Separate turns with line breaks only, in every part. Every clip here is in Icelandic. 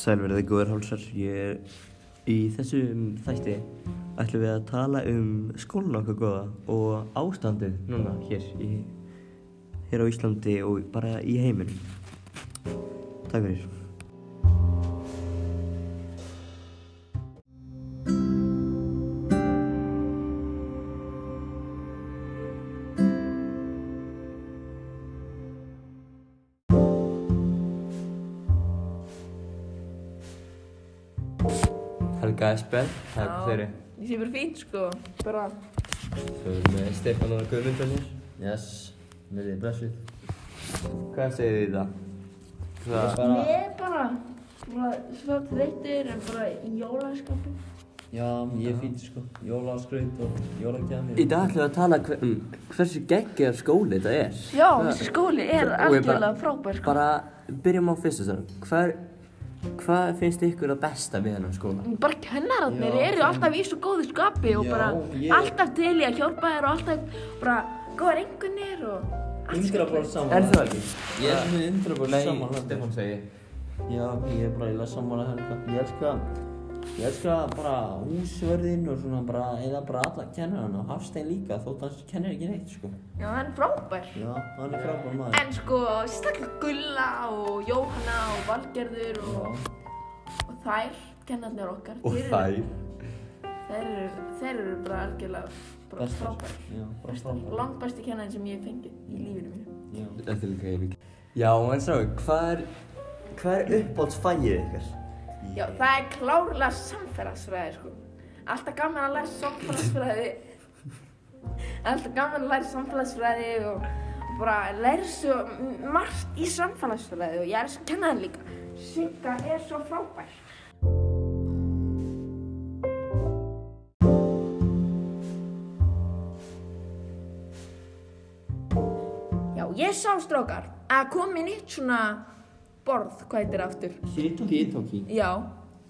Sælverðið góður hálsar, ég er í þessum þætti ætlum við að tala um skólan okkar góða og ástandið núna hér, í, hér á Íslandi og bara í heiminum. Takk fyrir.
Helga Espen, takk
Já.
fyrir.
Ég sé bara fínt sko, bara
Svo erum við Stefán og Guðmundsson.
Yes, verið blessið.
Hvað segir þið í það? Hvað?
Bara,
Ég er bara, bara svo þreyttur en bara í jólaskapu.
já, ég er fínt sko, jólaskraut og jólagjafir.
Í dag ætlum við að tala hver, um hversu geggjar skóli þetta er.
Já,
Hvað-
þessi skóli er
Og ég
algjörlega frábær sko.
Bara byrjum á fyrsta sérum. Hvað, hvað finnst ykkur að besta við hennan skóla?
Bara kennararnir
Já,
eru alltaf í svo góðu skapi og
Já,
bara
ég-
alltaf til í að hjálpa þér og alltaf bara góðar engunir og allt sko.
Undra bara saman.
Er það ekki?
Ég er svona undra bara saman.
Nei, Stefán segir.
Já, ég er bara eiginlega sammála helga. Ég elska, ég elska bara húsvörðinn og svona bara, eða bara alla kennarana. Hafstein líka, þótt hans kennir ekki neitt sko.
Já, það er frábær.
Já, hann er frábær maður.
En sko, staklega Gulla og Jóhanna og Valgerður og,
Já,
og þær, kennararnir okkar.
Og
þeir eru-
þær.
Þeir eru, þeir eru bara algjörlega bara
bestur.
frábær.
Já, bara frábær.
Langt besti kennarinn sem ég hef fengið í lífinu mínu.
Já.
Þetta er líka heimik. Já, en svo, hvað er, hvað er uppáhaldsfægið ykkar?
Já, það er klárlega samfélagsfræði, sko. Alltaf gaman að læra samfélagsfræði. Alltaf gaman að læra samfélagsfræði og bara læra svo margt í samfélagsfræði og ég er svo kennan líka. Sigga er svo frábær. Já, ég sá strákar að komin eitt svona borð, hvað heitir það aftur?
Hitoki.
Já,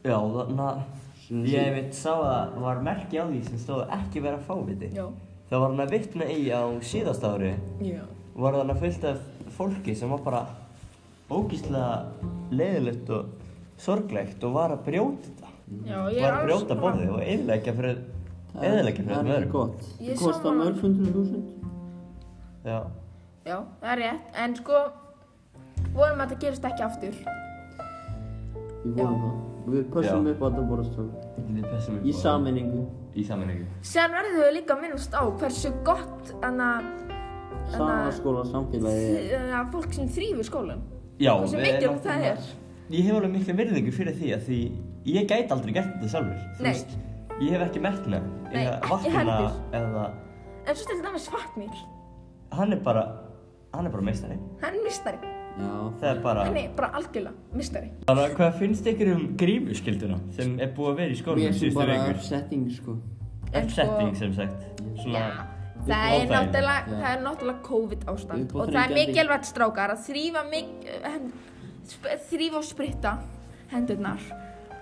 Já, þannig að ég veit sá að var merki á því sem stóð ekki vera fáviti.
já,
Það var hann að vitna í á síðast ári.
já.
Var hann að fylta fólki sem var bara ógíslega leiðilegt og sorglegt og var að brjóta þetta.
Já, ég
Mm. Var
er
að
alls
brjóta borðið og eðilegja fyrir, eðilegja fyrir öllum öðrum.
gott.
Ég Það kostar sammála. mörg
hundru þúsund.
Já.
Já, það er rétt, en sko, vorum að það gerist ekki aftur.
Við
vonum
það. Við
pössum
upp að það bara stóð.
Við pessum upp á-
sammenningu.
Í sammenningu.
Sen verðum við líka að minnast á hversu gott anna,
skóla samfélagi.
anna, fólk sem þrýfur skólan.
Já,
Hversu
við
mikið
erum
um það er.
Ég hef alveg mikla virðingu fyrir því að því ég gæti aldrei gert þetta sjálfur. Þú
Nei.
veist, ég hef ekki metna
Nei,
eða
ekki
vatna
heldur.
eða
En svo til dæmis Fatmir,
hann er bara, hann er bara meistari.
hann er mistari.
Já.
Það er bara,
Hann er bara algjörlega mistari.
bara hvað finnst ykkur um grímuskylduna sem er búið að vera í skólum
Mér finnst
síðustu
bara
vikur?
setting sko.
En sko-
Upsetting sem sagt. Svona,
Já, það er
óþægilegt.
náttúrulega,
Já.
það er náttúrulega COVID ástand
Upp á
og það er
þrengjandi.
mikilvægt strákar að þrýfa mik, hen- sp- þrýfa og spritta hendurnar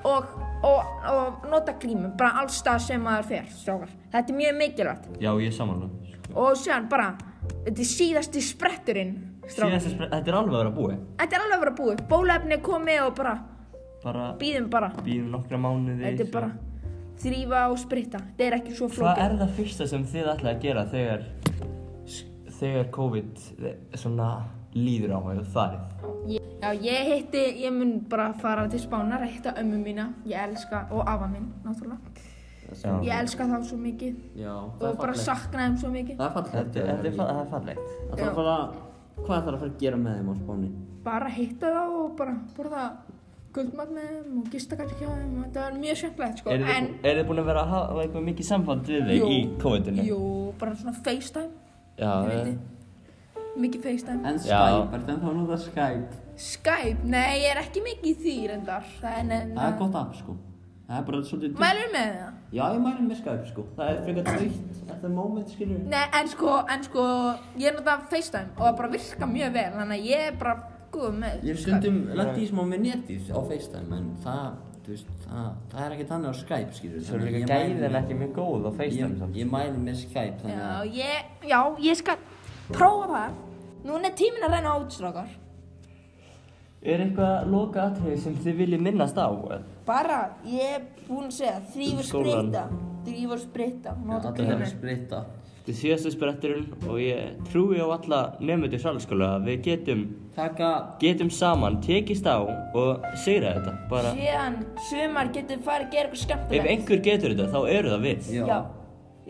og, og, og nota grímum bara alls stað sem maður fer, strákar. Þetta er mjög mikilvægt
já, ég er samanlega.
og séðan bara, þetta er síðasti spretturinn, strákar.
Síðast, þetta er alveg að vera búið.
Þetta er alveg að vera búið, bólefni er komið og bara
Bara
býðum bara,
býðum nokkra mánuði.
þetta er bara þrýfa og spritta, þetta er ekki svo
Hvað er
flókið.
það fyrsta sem þið ætlaði að gera þegar, þegar COVID svona líður á mig og farið?
Ég- Já, ég hitti, ég mun bara fara til Spánar að hitta ömmu mína, ég elska, og afa minn, náttúrulega.
Já.
Ég elska þá svo mikið
Já, það er
og bara
fallegt.
sakna þeim svo mikið.
Það er fallegt.
Þetta þetta er fa- það er fallegt.
Það þarf bara, hvað þarf að fara að gera með þeim á spáni?
Bara hitta þá og bara borða guldmat með þeim og gista kannski hjá þeim, þetta var mjög sjönglegt, sko.
Er þið,
en,
en, er þið búin að vera að hafa eitthvað mikið samband við þig
Jú.
í COVID-inu?
jú, bara svona FaceTime,
Já,
ég
eh,
veit þið. Mikið FaceTime.
En Skype, er þetta að nota Skype?
Skype, nei, ég er ekki mikið í því reyndar. Það er nefn
Það er gott app sko. Það er bara svolítið...
Mælum með það?
Já, ég mæli með Skype sko. Það er frekar dröytt at the moment skilur.
Nei, en sko, en sko, ég er náttúrulega FaceTime og það bara virka mjög vel, þannig að ég er bara góð með
Ég er stundum lagt í smá með netið á FaceTime en það, þú veist, það, það er ekki þannig á Skype skilur.
Svo er líka gæðin ekki mjög góð á FaceTime
Ég,
samt.
ég mæli með Skype þannig
Já,
að...
ég, já, ég skal prófa það. Núna er tíminn að reyna út, strákar.
Er eitthvað loka atrið sem þið viljið minnast á?
Bara, ég er búin að segja, þrýfa
Skólan.
spritta. Þrýfa spritta, nota
Allir hefur
grími.
spritta.
Þetta er síðasta spretturinn og ég trúi á alla nefndu salskóla að við getum,
Taka,
getum saman tekist á og sigra þetta. Bara,
Síðan, sumar getur farið að gera eitthvað
ef
skemmtilegt.
einhver getur þetta, þá eru það við.
já.
Já,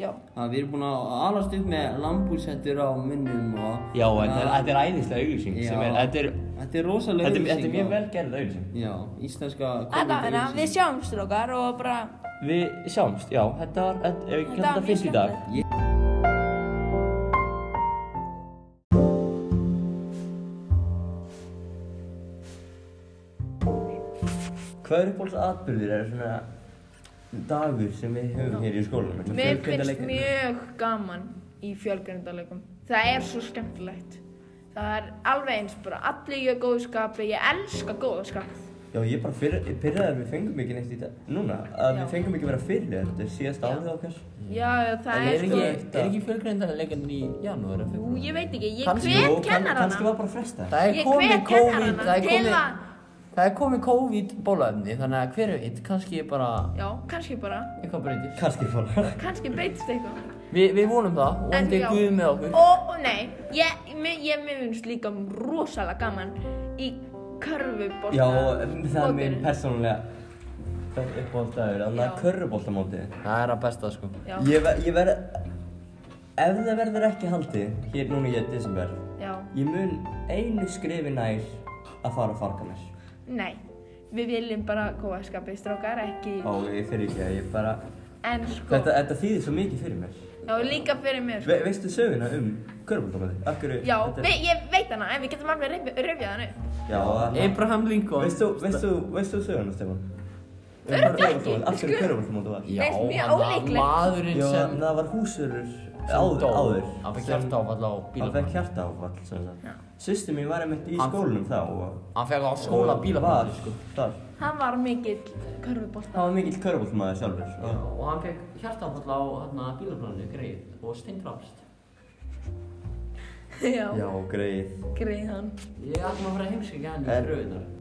já.
Það, við erum búin að alast upp með lambúsettur á munnum og...
Já, en það-
Þannig
þetta er æðislega auglýsing sem er,
Já.
þetta er,
að- Þetta er rosalega
þetta er, þetta er
auglýsing
mjög
og-
vel gerð auglýsing.
Já, íslenska...
Þetta, þannig að við sjáumst okkar og bara,
Við sjáumst, já, þetta var, þetta, ef við
Þetta
kemum
var
þetta
mjög
fyrst í dag.
Ég-
Hvað er uppáhalds atbyrðir er svona dagur sem við höfum hér í skólanum? Svona
Mér finnst
fjölbreytileika?
mjög gaman í fjölgrindalekum. Það er svo skemmtilegt. Það er alveg eins bara, allir ég er góðu skapi, ég elska góðu skapi.
Já, ég er bara fyrir, pyrraði að við fengum ekki neitt í dag núna, að
Já.
við fengum ekki að vera fyrir þetta er síðasta árið okkar.
Já, það
En
er,
er
sko,
ekki-
Er ekki fjölgreindarleikendur í janúar? eða
Ú,
febrúar?
ég veit ekki, ég
Kannski,
Jú,
hvet
kann-
kennarana.
Kannski var bara fresta.
Það er
Ég
komið
hvet
COVID,
kennarana
það er
til
komið,
að,
það er komið COVID bólaefni, þannig að hver veit, kannski ég bara,
já, kannski bara,
eitthvað breytist.
Kannski bara.
kannski breytist eitthvað.
Vi, við vonum það, og
En
hundi
já.
Guð með okkur.
Og, og nei, ég, mér, ég mér finnst líka rosalega gaman í körfubolta.
Já, það er minn
mótinu.
persónulega uppáhalds dagur, þannig
Já.
að körruboltamótið.
Það er að besta sko.
Já,
Ég, ver, ég verð, ef það verður ekki haldið, hér núna í desember,
já,
ég mun einu skrifi nær að fara að farga mér.
nei, við viljum bara góða skapið strákar, ekki,
Ó, ég fyrir ekki að ég bara,
en sko,
þetta, þetta þýðir svo mikið fyrir mér.
já, líka fyrir mér, sko.
Ve, veistu söguna um körfuboltamótið? Af hverju?
Já,
þetta er-
vi, ég veit hana, en við getum alveg rifjað rifja hana upp.
Já, þannig.
Abraham Lincoln.
Veistu, veistu, veistu söguna, Stefán? Um
Örugglega ekki,
körfuboltamótið, af hverju
sko.
körfuboltamótið var?
Já,
Nei, mjög
hann að
ólíklegt.
maðurinn
Já,
sem,
það var húsurur
sem
áður,
dó.
áður.
Hann fekk
sem-
hjarta áfall á
Hann fekk
bílapann.
hjarta áfall, sem sagt. Systir mín var einmitt í
Hann-
skólanum þá og...
Hann fekk á skóla sko.
og
bílapann.
var, Þar.
Hann var mikill körfubolta.
Það var mikill körbólmaður sjálfur. og-
Og hann fekk hjarta áfall á hérna, bílapannu, greið, og steindrafst.
já,
Já, greið.
greið hann.
Ég ætlum að fara að heimsækja hann í
En-
gröðunar.